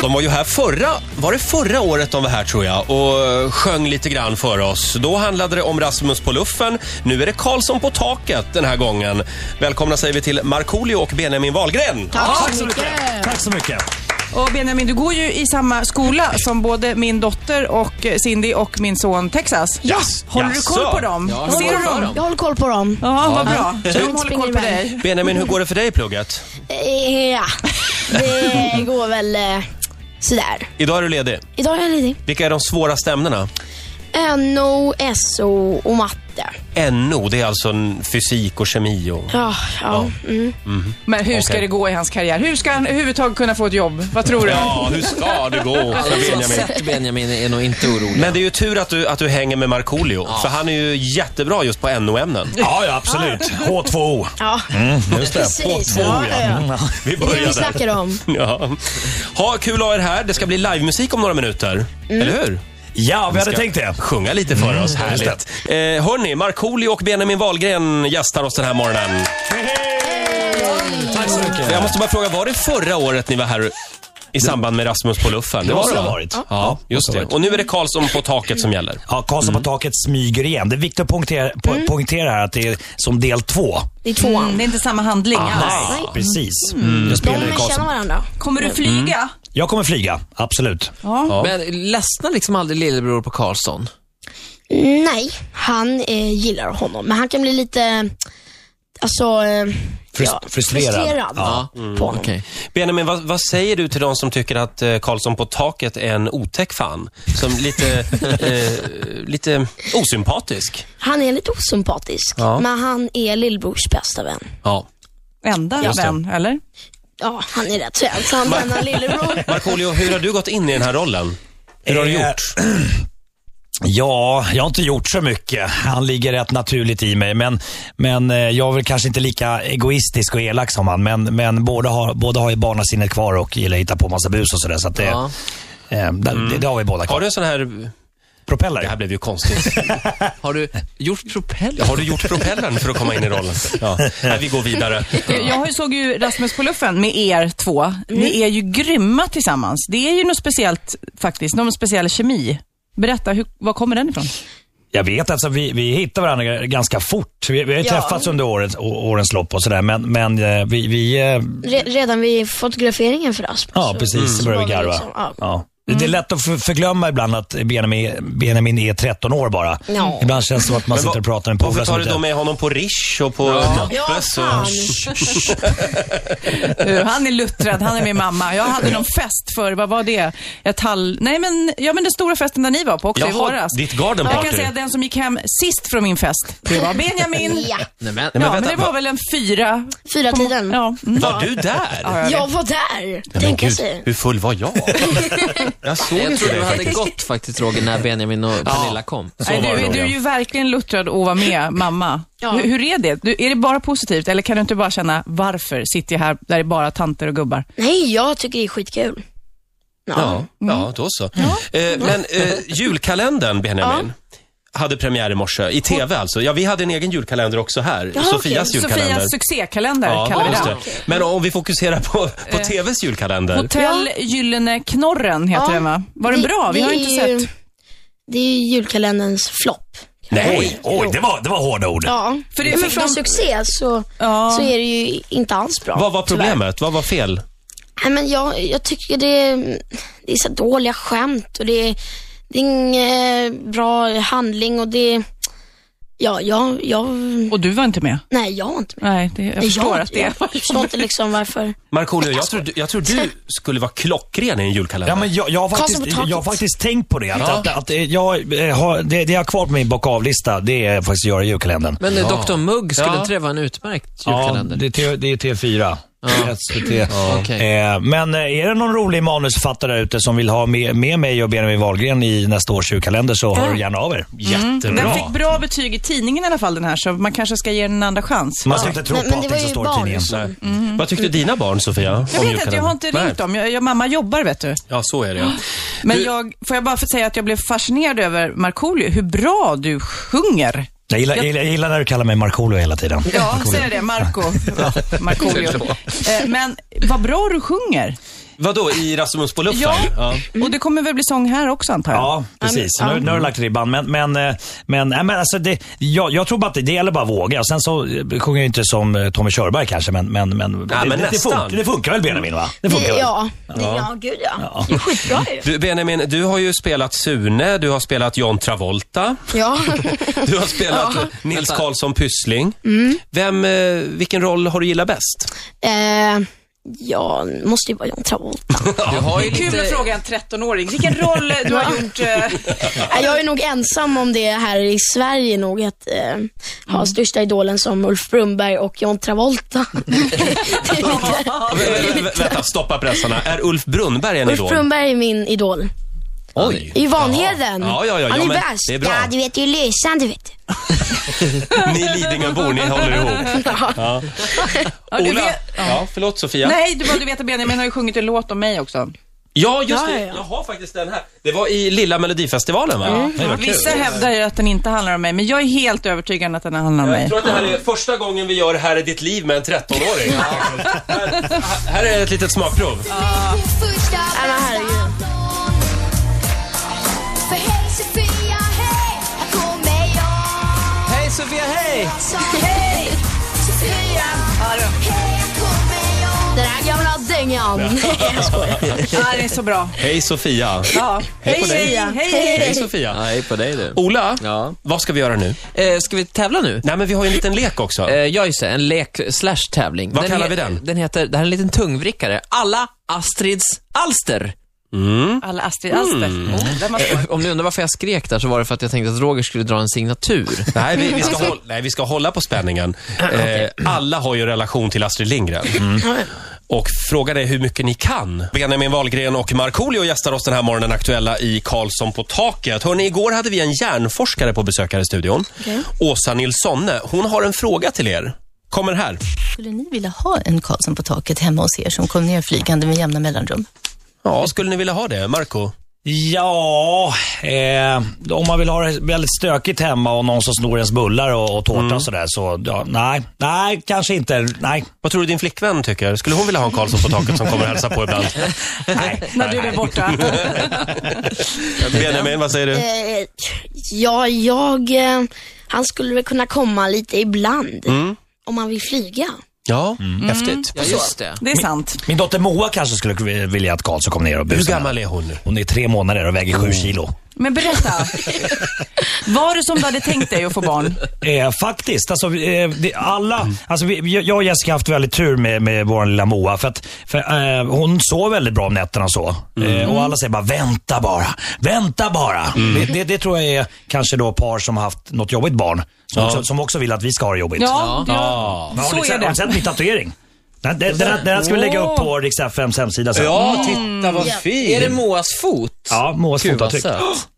de var ju här förra, var det förra året de var här tror jag och eh, sjöng lite grann för oss. Då handlade det om Rasmus på luffen. Nu är det Karlsson på taket den här gången. Välkomna säger vi till Markoolio och Benjamin Wahlgren. Tack så mycket. Tack så mycket. Och Benjamin, du går ju i samma skola som både min dotter och Cindy och min son Texas. Ja. Håller Jaså? du koll på dem? Ja, jag Ser du håller koll på dem? dem. Ja, Jag håller koll på dem. vad bra. Så de håller springer koll på iväg. dig. Benjamin, hur går det för dig i plugget? Eh, Ja, det går väl eh, sådär. Idag är du ledig. Idag är jag ledig. Vilka är de svåraste ämnena? NO, SO och matte. NO, det är alltså en fysik och kemi och... Ja, Ah, ja. Mm. Men hur ska Okej. det gå i hans karriär? Hur ska han överhuvudtaget kunna få ett jobb? Vad tror du? Ja, hur ska det gå Alla för som Benjamin? sett Benjamin är nog inte oroliga. Men det är ju tur att du, att du hänger med Markoolio, för han är ju jättebra just på NO-ämnen. Ja, ja absolut. H2O. ja. Mm, Just precis. H2O, Ja, ja. Mm, ja. Vi Det är det börjar vi där. snackar om. Ja. Ha kul att ha er här. Det ska bli livemusik om några minuter. Eller hur? Ja, vi hade tänkt det. Sjunga lite för oss. just Härligt. Eh, hörni, Markoolio och Benjamin Wahlgren gästar oss den här morgonen. Tack så mycket. Jag måste bara fråga, var det förra året ni var här i samband med Rasmus på luffen? Det måste va? ha varit. Ja, just det. Och nu är det Karlsson på taket som gäller. Ja, Karlsson på taket smyger igen. Det är viktigt att poängtera, po- poängtera här att det är som del två. Det är tvåan. Mm, Mm. Det är inte samma handling alls. Ah. Nej. Precis. Jag, spelar De i känner Karlsson. varandra. Kommer du flyga? jag kommer flyga, absolut. Ja. Ja. Men ledsnar liksom aldrig lillebror på Karlsson? Nej, han eh, gillar honom. Men han kan bli lite, alltså, eh, Frus- frustrerad. frustrerad Ja. på honom. Mm. Okej. Benjamin, vad, vad säger du till de som tycker att eh, Karlsson på taket är en otäck fan? Som lite, eh, lite osympatisk? Han är lite osympatisk, Ja. men han är lillbrors bästa vän. Ja. Enda Just det. vän, eller? Ja, han är rätt söt, så han vänner lillebror. Markoolio, hur har du gått in i den här rollen? Hur har du Eh, gjort? Ja, jag har inte gjort så mycket. Han ligger rätt naturligt i mig. Men, men eh, jag är väl kanske inte lika egoistisk och elak som han. Men, men båda, har, båda har ju barnasinnet kvar och gillar att hitta på massa bus och sådär. Så att det, Ja. eh, det, det, det har vi båda Mm. Har kvar. du en sån här... Det här Propeller? blev ju konstigt. Har du gjort propeller? Har du gjort propellern för att komma in i rollen? Ja. Nej, vi går vidare. Jag har ju- såg ju Rasmus på luffen med er två. Ni är ju grymma tillsammans. Det är ju något speciellt faktiskt, någon speciell kemi. Berätta, hur, var kommer den ifrån? Jag vet alltså, vi, vi hittar varandra ganska fort. Vi, vi har ju Ja. träffats under årens, å- årens lopp och sådär. Men, men eh, vi, vi eh, Re- redan vid fotograferingen för Rasmus. Ja, precis. Så börjar vi Så var det garva. liksom, ja. ja. Det- Det är lätt att för- förglömma ibland att Benjamin, Benjamin är 13 år bara. Ja. Ibland känns det som att man Men sitter vad- och pratar med en Varför polare tar som du då inte... med honom på Rish och på Nappes? fan. Uh, han är luttrad, han är min mamma. Jag hade någon fest för, vad var det? Ett hall... Nej men, ja men den stora festen där ni var på också i Jaha, våras. ditt garden Jag party. kan säga att den som gick hem sist från min fest, det var Benjamin. Ja. Nej, men, Ja, men vänta, det var vad- väl en fyra. Fyra på- tiden. Ja. Mm. Var du där? Nej, Jag var där, men tänka gud, sig. Hur full var jag? Jag såg jag inte tror det du hade faktiskt. gått faktiskt Roger när Benjamin och Pernilla kom. Nej, var det du, nog, du är ja. ju verkligen luttrad att vara med mamma. Ja. hur, hur är det? Du, är det bara positivt eller kan du inte bara känna varför sitter jag här där det är bara tanter och gubbar? Nej, jag tycker det är skitkul. Ja, ja då så. Eh, men eh, julkalendern, Benjamin. Hade premiär i morse, i TV alltså. Ja, vi hade en egen julkalender också här. Jaha, Sofias okej. julkalender. Sofias succékalender kallar ja, vi just den. det. Men om vi fokuserar på, på TVs julkalender. Hotell Gyllene Knorren heter Ja. den va? Var den Det- bra? Vi det har är inte ju- sett. Det är ju julkalenderns flopp. Oj, oj, det var, det var hårda ord. Ja, För det- men för från de- succé så, Ja. så är det ju inte alls bra. Vad var tyvärr. problemet? Vad var fel? Nej, men jag, jag tycker det, det är så dåliga skämt och det, det är ingen bra handling och det... Ja, jag... jag Och du var inte med? nej, jag har inte med. Nej, det, jag förstår jag, att det är. jag, jag förstår inte liksom varför. Markoolio, jag tror, jag tror du skulle vara klockren i en julkalender. Ja, men jag, jag, har faktiskt, Karlsson på taket. jag har faktiskt tänkt på det. Att, Ja. att, att, eh, jag, eh, har, det. Det jag har kvar på min bockavlista, det är faktiskt att göra julkalendern. Men eh, Dr Mugg skulle Ja. inte det vara en utmärkt Ja, julkalender? det är, T- det är T4. SVT. Okej. Eh, men eh, är det någon rolig manusförfattare där ute som vill ha med, med mig och Benjamin Wahlgren i nästa års julkalender så hör gärna av er. Jättebra. Den fick bra betyg i tidningen i alla fall den här, så man kanske ska ge den en andra chans. Man ska inte tro Men- på men det var allting som ju står i tidningen. barn. Nej. Vad tyckte dina barn, Sofia? Mm. Jag om vet inte, jag har julkalendern? inte Nej. ringt dem. Jag, jag, mamma jobbar vet du. Ja, så är det. ja. Men Du- jag, får jag bara få säga att jag blev fascinerad över Markoolio, hur bra du sjunger. Jag gillar, jag, gillar, jag gillar när du kallar mig Markoolio hela tiden. Ja, säg det, Marco. Ja, Markoolio. Eh, Men vad bra du sjunger. Vadå, i Rasmus på luften? Ja. Och det kommer väl bli sång här också antar jag? Ja, precis. Ja, men- Nu, nu har du lagt ribban. Men, men, eh, men, nej, men alltså det, jag, jag tror bara att det, det gäller bara att våga. Sen så eh, sjunger jag inte som eh, Tommy Körberg kanske, men, men, men, Ja, det, men det, det, nästan. funkar, det funkar väl Benjamin? Va? Det Det, funkar väl? ja. Det, ja, gud ja. Det är skitbra ju. Du, Benjamin, du har ju spelat Sune, du har spelat John Travolta, Ja. du har spelat Nils Vänta. Karlsson Pyssling. Mm. Vem, eh, vilken roll har du gillat bäst? eh, ja, måste ju vara John Travolta. Du har ju Kul att lite... fråga en 13-åring. Vilken roll du har gjort? eh, Nej, Jag är nog ensam om det här i Sverige nog, att eh, Mm. ha största idolen som Ulf Brunberg och John Travolta. det är lite, Vä- vä- Vänta, stoppa pressarna. Är Ulf Brunnberg en Ulf idol? Brunberg är min idol. Oj. I Vanheden. Ja, ja, ja, Han ja, men är värst. det är bra. Ja, du vet, det är ju Lysan, du vet. Ni Lidingöbor, ni håller ihop. Ja. du Ola, vet- ja, förlåt Sofia. Nej, du bara du vet att Benjamin har ju sjungit en låt om mig också. Ja, just Ja, det. ja, ja. Mm. Jag har faktiskt den här. Det var i Lilla Melodifestivalen, va? Det var kul. Vissa hävdar ju att den inte handlar om mig, men jag är helt övertygad att den handlar om Jag mig. tror att Mm. det här är första gången vi gör Här är ditt liv med en 13-åring. här, här är ett litet smakprov. Nej, men herregud. För hej Sofia, hej, här kommer jag Hej Sofia, hej! Så hej Sofia, hej, här kommer jag Den här gamla dängan. Nej, jag skojar. Ja, det är så bra. Hej Sofia. Ja. Hej på dig. Sofia. Hej, hej, hej. Hej Sofia. Nej, på dig du. Ola, Ja. vad ska vi göra nu? Eh, ska vi tävla nu? Nej, men vi har ju en liten lek också. Eh, ja, just det. En lek slash tävling. Vad kallar vi he- den? Den heter, det här är en liten tungvrickare. Alla Astrids alster. Mm. Eh, Alla Astrid Asper. Mm. Oh, den var svår. Om ni undrar varför jag skrek där så var det för att jag tänkte att Roger skulle dra en signatur. Nej, vi, vi ska hålla, nej, vi ska hålla på spänningen. Eh, alla har ju en relation till Astrid Lindgren. Mm. Och frågan är hur mycket ni kan. Benjamin Wahlgren och Markoolio gästar oss den här morgonen aktuella i Karlsson på taket. Hörrni, igår hade vi en hjärnforskare på besök här i studion. Åsa Nilssonne. Hon har en fråga till er. Kommer här. Skulle ni vilja ha en Karlsson på taket hemma hos er som kom ner flygande med jämna mellanrum? Ja, skulle ni vilja ha det, Marco? Ja, eh, om man vill ha det väldigt stökigt hemma och någon som snor ens bullar och, och Mm. tårta och sådär så, ja, nej, nej, kanske inte, nej. Vad tror du din flickvän tycker? Skulle hon vilja ha en Karlsson på taket som kommer och hälsa på ibland? nej. När du är borta. Benjamin, vad säger du? Eh, ja, jag... Eh, han skulle väl kunna komma lite ibland. Mm. Om man vill flyga. Ja, Mm. häftigt. Ja, just det. Det är sant. Min dotter Moa kanske skulle vilja att Karlsson kom ner och Hur busade. gammal är hon nu? Hon är tre månader och väger sju kilo. Men berätta. Var det som du hade tänkt dig att få barn? Eh, faktiskt. Alltså, eh, det, alla, alltså, vi, jag och Jessica har haft väldigt tur med, med vår lilla Moa. För att, för, eh, hon sov väldigt bra om nätterna och så. Mm. Eh, och alla säger bara vänta bara, vänta bara. Det, det, det tror jag är kanske då par som har haft något jobbigt barn. Som, också, som också vill att vi ska ha det jobbigt. Ja, ja. Men har så ni, är sett- Har ni det. sett min tatuering? Den, den, den, den här ska vi lägga upp på Rix FMs hemsida sen. Ja, titta vad fin! Är det Moas fot? Ja, Moas Gud vad fotavtryck. söt.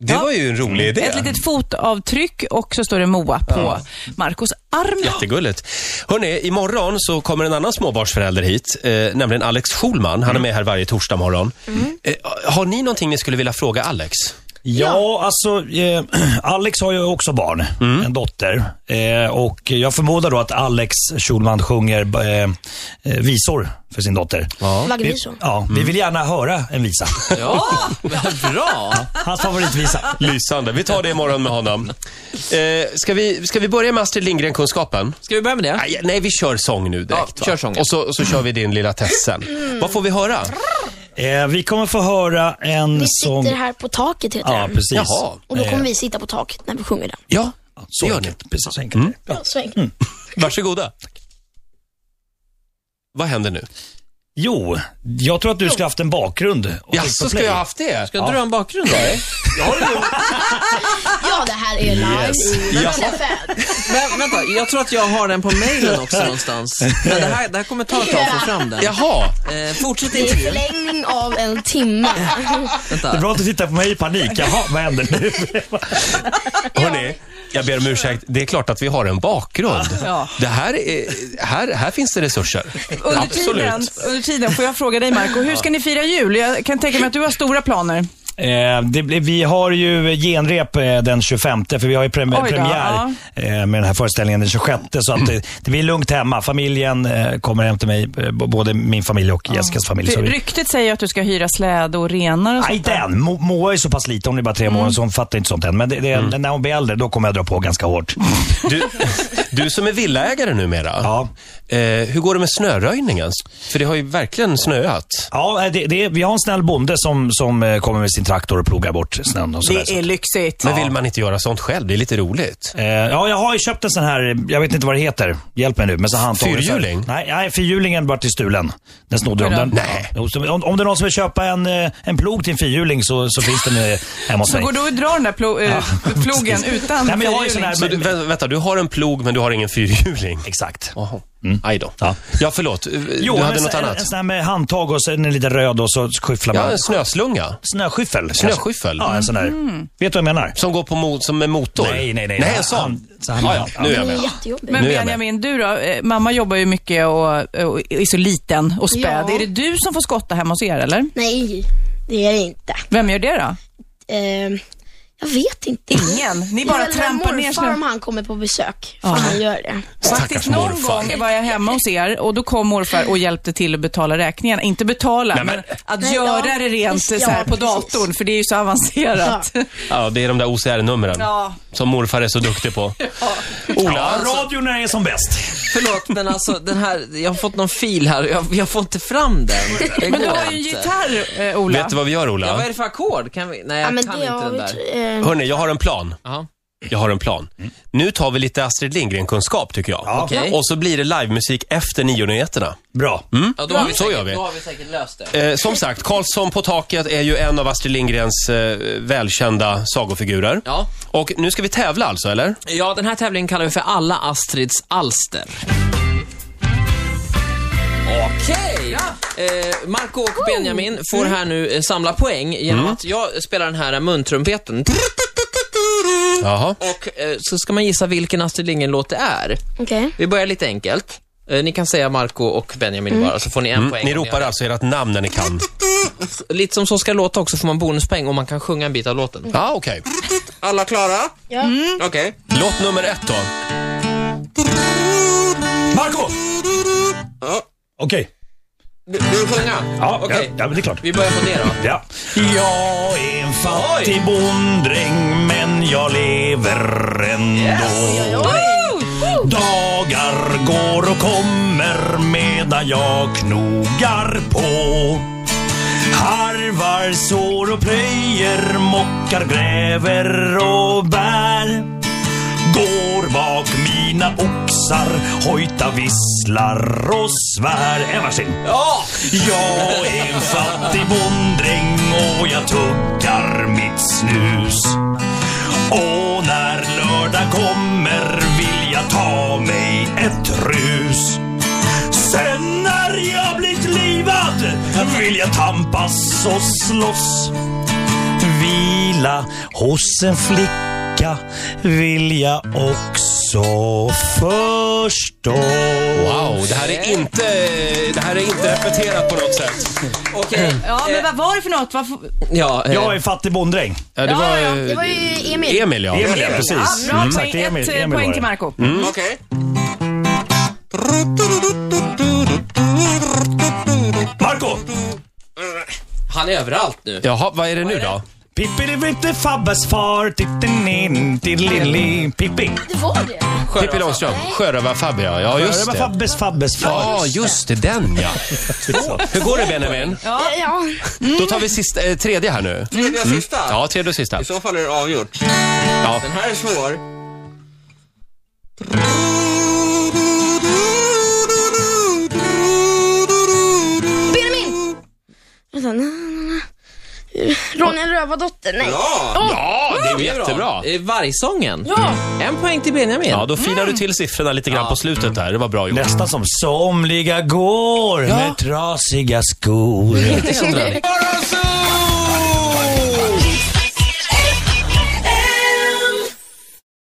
Det var ju en rolig idé. Ett litet fotavtryck och så står det Moa på Marcos arm. Jättegulligt. Hörrni, imorgon så kommer en annan småbarnsförälder hit, eh, nämligen Alex Schulman. Han är med här varje torsdag morgon. Eh, har ni någonting ni skulle vilja fråga Alex? Ja, alltså eh, Alex har ju också barn, Mm. en dotter. Eh, och jag förmodar då att Alex Schulman sjunger eh, eh, visor för sin dotter. Vi, Vagnvisor. ja, Mm. vi vill gärna höra en visa. Ja, bra. Hans favoritvisa. Lysande. Vi tar det imorgon med honom. Eh, ska, vi, ska vi börja med Astrid Lindgren-kunskapen? Ska vi börja med det? Nej, nej, vi kör sång nu direkt. Ja, va? kör sången. Och så, så kör vi din lilla test sen. Vad får vi höra? Eh, vi kommer få höra en Vi sång... sitter här på taket heter Ja, den. precis. Jaha. Och då kommer vi sitta på taket när vi sjunger den. Ja, Så gör Mm. enkelt. Precis, så enkelt. Ja. Så enkelt. varsågoda. Vad händer nu? Jo, jag tror att du skulle haft en bakgrund. och Ja, tryckt på så ska play. jag ha haft det? Ska du ha en bakgrund då? Ja, det här är live i Ja. FM. Men, vänta, jag tror att jag har den på mailen också någonstans. Men det här, det här kommer ta ett tag att få fram den. Jaha. Eh, fortsätt Det är intervjun. förlängning av en timme. Det är Vänta. bra att du tittar på mig i panik. Jaha, vad händer nu? Hörni, jag ber om ursäkt. Det är klart att vi har en bakgrund. Ja. Det här, är, här, här finns det resurser. Under tiden, under tiden får jag fråga dig Marco, hur ska ni fira jul? Jag kan tänka mig att du har stora planer. Eh, det, blir- vi har ju genrep eh, den 25, för vi har ju prem- Oj då, premiär eh, med den här föreställningen den 26. Så att det, det blir lugnt hemma. Familjen eh, kommer hem till mig, eh, b- både min familj och Jessicas familj. Så För vi, Ryktet säger att du ska hyra släde och renar och Nej, sånt inte där. än. Mo- Moa är så pass liten, hon är bara Mm. tre månader, så hon fattar inte sånt än. Men det, det, när hon blir äldre, då kommer jag dra på ganska hårt. Mm. Du, du som är villaägare numera, Ja. eh, hur går det med snöröjningen? För det har ju verkligen snöat. Ja, eh, det, det, vi har en snäll bonde som, som eh, kommer med sin traktor och plogar bort snön och sådär. Det är lyxigt. Men vill man inte göra sånt själv? Det är lite roligt. Eh, Ja, jag har ju köpt en sån här, eh, jag vet inte vad det heter. Hjälp mig nu. Men så handtag- Fyrhjuling? Nej, nej, fyrhjulingen vart till stulen. Den snodde de. Oj då. Den, Nej. Jo, så om, om det är någon som vill köpa en, eh, en plog till en fyrhjuling så, så finns den eh, hemma hos Så mig. går du och drar den där plo- eh, plogen utan Nej, men jag har ju sån fyrhjuling? här- Så du, vä- vänta, du har en plog men du har ingen fyrhjuling? Exakt. Jaha. Aj då. Ja. Ja. förlåt. Eh, Jo, du en hade sån- något en, annat? En sån här med handtag och så en liten röd och så skyfflar man. Ja, en snöslunga. Snöskyffel. kanske. Snöskyffel? Ja, en sån där. Vet du vad jag menar? Som går på mo- som med motor? Nej, nej, nej. Nej, en Han- sån? han- så han- ja, ja, nu är jag Den är med. jättejobbig. Men Nu är jag Benjamin, du då? Eh, Mamma jobbar ju mycket och, och är så liten och späd. Ja. Är det du som får skotta hemma hos er eller? Nej, det är det inte. Vem gör det då? Ehm, jag vet inte. Ingen. Ni bara Det är väl trampar ner morfar om snön. han kommer på besök. För han gör det. Faktiskt någon morfar. gång var jag hemma hos er och då kom morfar och hjälpte till att betala räkningen. Inte betala, Nej, men, men- att Nej, göra ja. det rent Ja, så här på precis. datorn, för det är ju så avancerat. Ja. Ja, det är de där OCR-numren Ja. som morfar är så duktig på. Ja, radion är som bäst. Förlåt, men alltså den här, jag har fått någon fil här och jag, jag får inte fram den. Det Men du går har ju en inte. gitarr, eh, Ola. Vet du vad vi gör, Ja, vad är Ola? det för ackord? Kan vi? Nej, jag Ja, men kan det inte har den vi, där. ehm, Hörni, jag har en plan. Jaha. Jag har en plan. Nu tar vi lite Astrid Lindgren-kunskap, tycker jag. Ja. Okej. Och så blir det livemusik efter nionyheterna. Bra. Ja, då Ja, har vi så säkert, gör vi. Då har vi säkert löst det. Eh, som sagt, Karlsson på taket är ju en av Astrid Lindgrens eh, välkända sagofigurer. Ja. Och nu ska vi tävla alltså, eller? Ja, den här tävlingen kallar vi för Alla Astrids alster. Okej! Eh, Marco och Benjamin får Mm. här nu eh, samla poäng genom att jag spelar den här eh, muntrumpeten. Jaha. Och eh, så ska man gissa vilken Astrid Lindgren-låt det är. Okej. Vi börjar lite enkelt. Eh, ni kan säga Marco och Benjamin bara, så får ni en poäng. Mm. Ni om ropar alltså ert namn när ni kan. har- Lite som Så ska det låta också får man bonuspoäng om man kan sjunga en bit av låten. Mm. Ja, okej. Alla klara? Ja. Okej. Låt nummer ett då. Marco! Okej. Du, du sjunga? Ja, Okej. ja, ja, men det är klart. Vi börjar på det då. Ja. Jag är en fattig bonddräng men jag lever ändå. Dagar går och kommer medan jag knogar på. Harvar, sår och plöjer, mockar, gräver och bär. Går bak mina oxar, hojta, visslar och svär. En varsin. Ja! Jag är en fattig bonddräng och jag tuggar mitt snus. Och när lördag kommer vill jag ta mig ett rus. Sen när jag blivit livad vill jag tampas och slåss. Vila hos en flicka vill jag också förstå. Wow, det här är inte, det här är inte repeterat på något sätt. Okej. eh, Ja, men vad var det för något? Varför... Ja, eh, Jag är en fattig bonddräng. Ja, det var, eh, Det var ju Emil. Emil, ja. Emil, ja, é precis. Bra Mm. poäng. Tack, Emil. Ett eh, Emil var poäng det. till Marco Okej. Marco! Han är överallt nu. Jaha, vad är det nu då? Pippelivitte Fabbes far, tittelin, tittelilli, Pippi. Det var det. Pippi Långstrump, Sjörövar-Fabbe, ja. Ja, Just just det. det. Fabbes Fabbes far. Ja, just det, den ja. Hur går det Benjamin? Ja. ja. Då tar vi sista, eh, tredje här nu. Mm. Tredje och sista? Ja, tredje och sista. så fall är det avgjort. Ja. Den här är svår. Benjamin! Vänta, na, na, na. Ronja Rövardotter, nej. Ja! Ja, det är ju jättebra. Eh, Vargsången. Ja. En poäng till Benjamin. Ja, då firar du till siffrorna lite grann på slutet där. Det var bra gjort. Nästan som somliga går med trasiga skor. Öresund!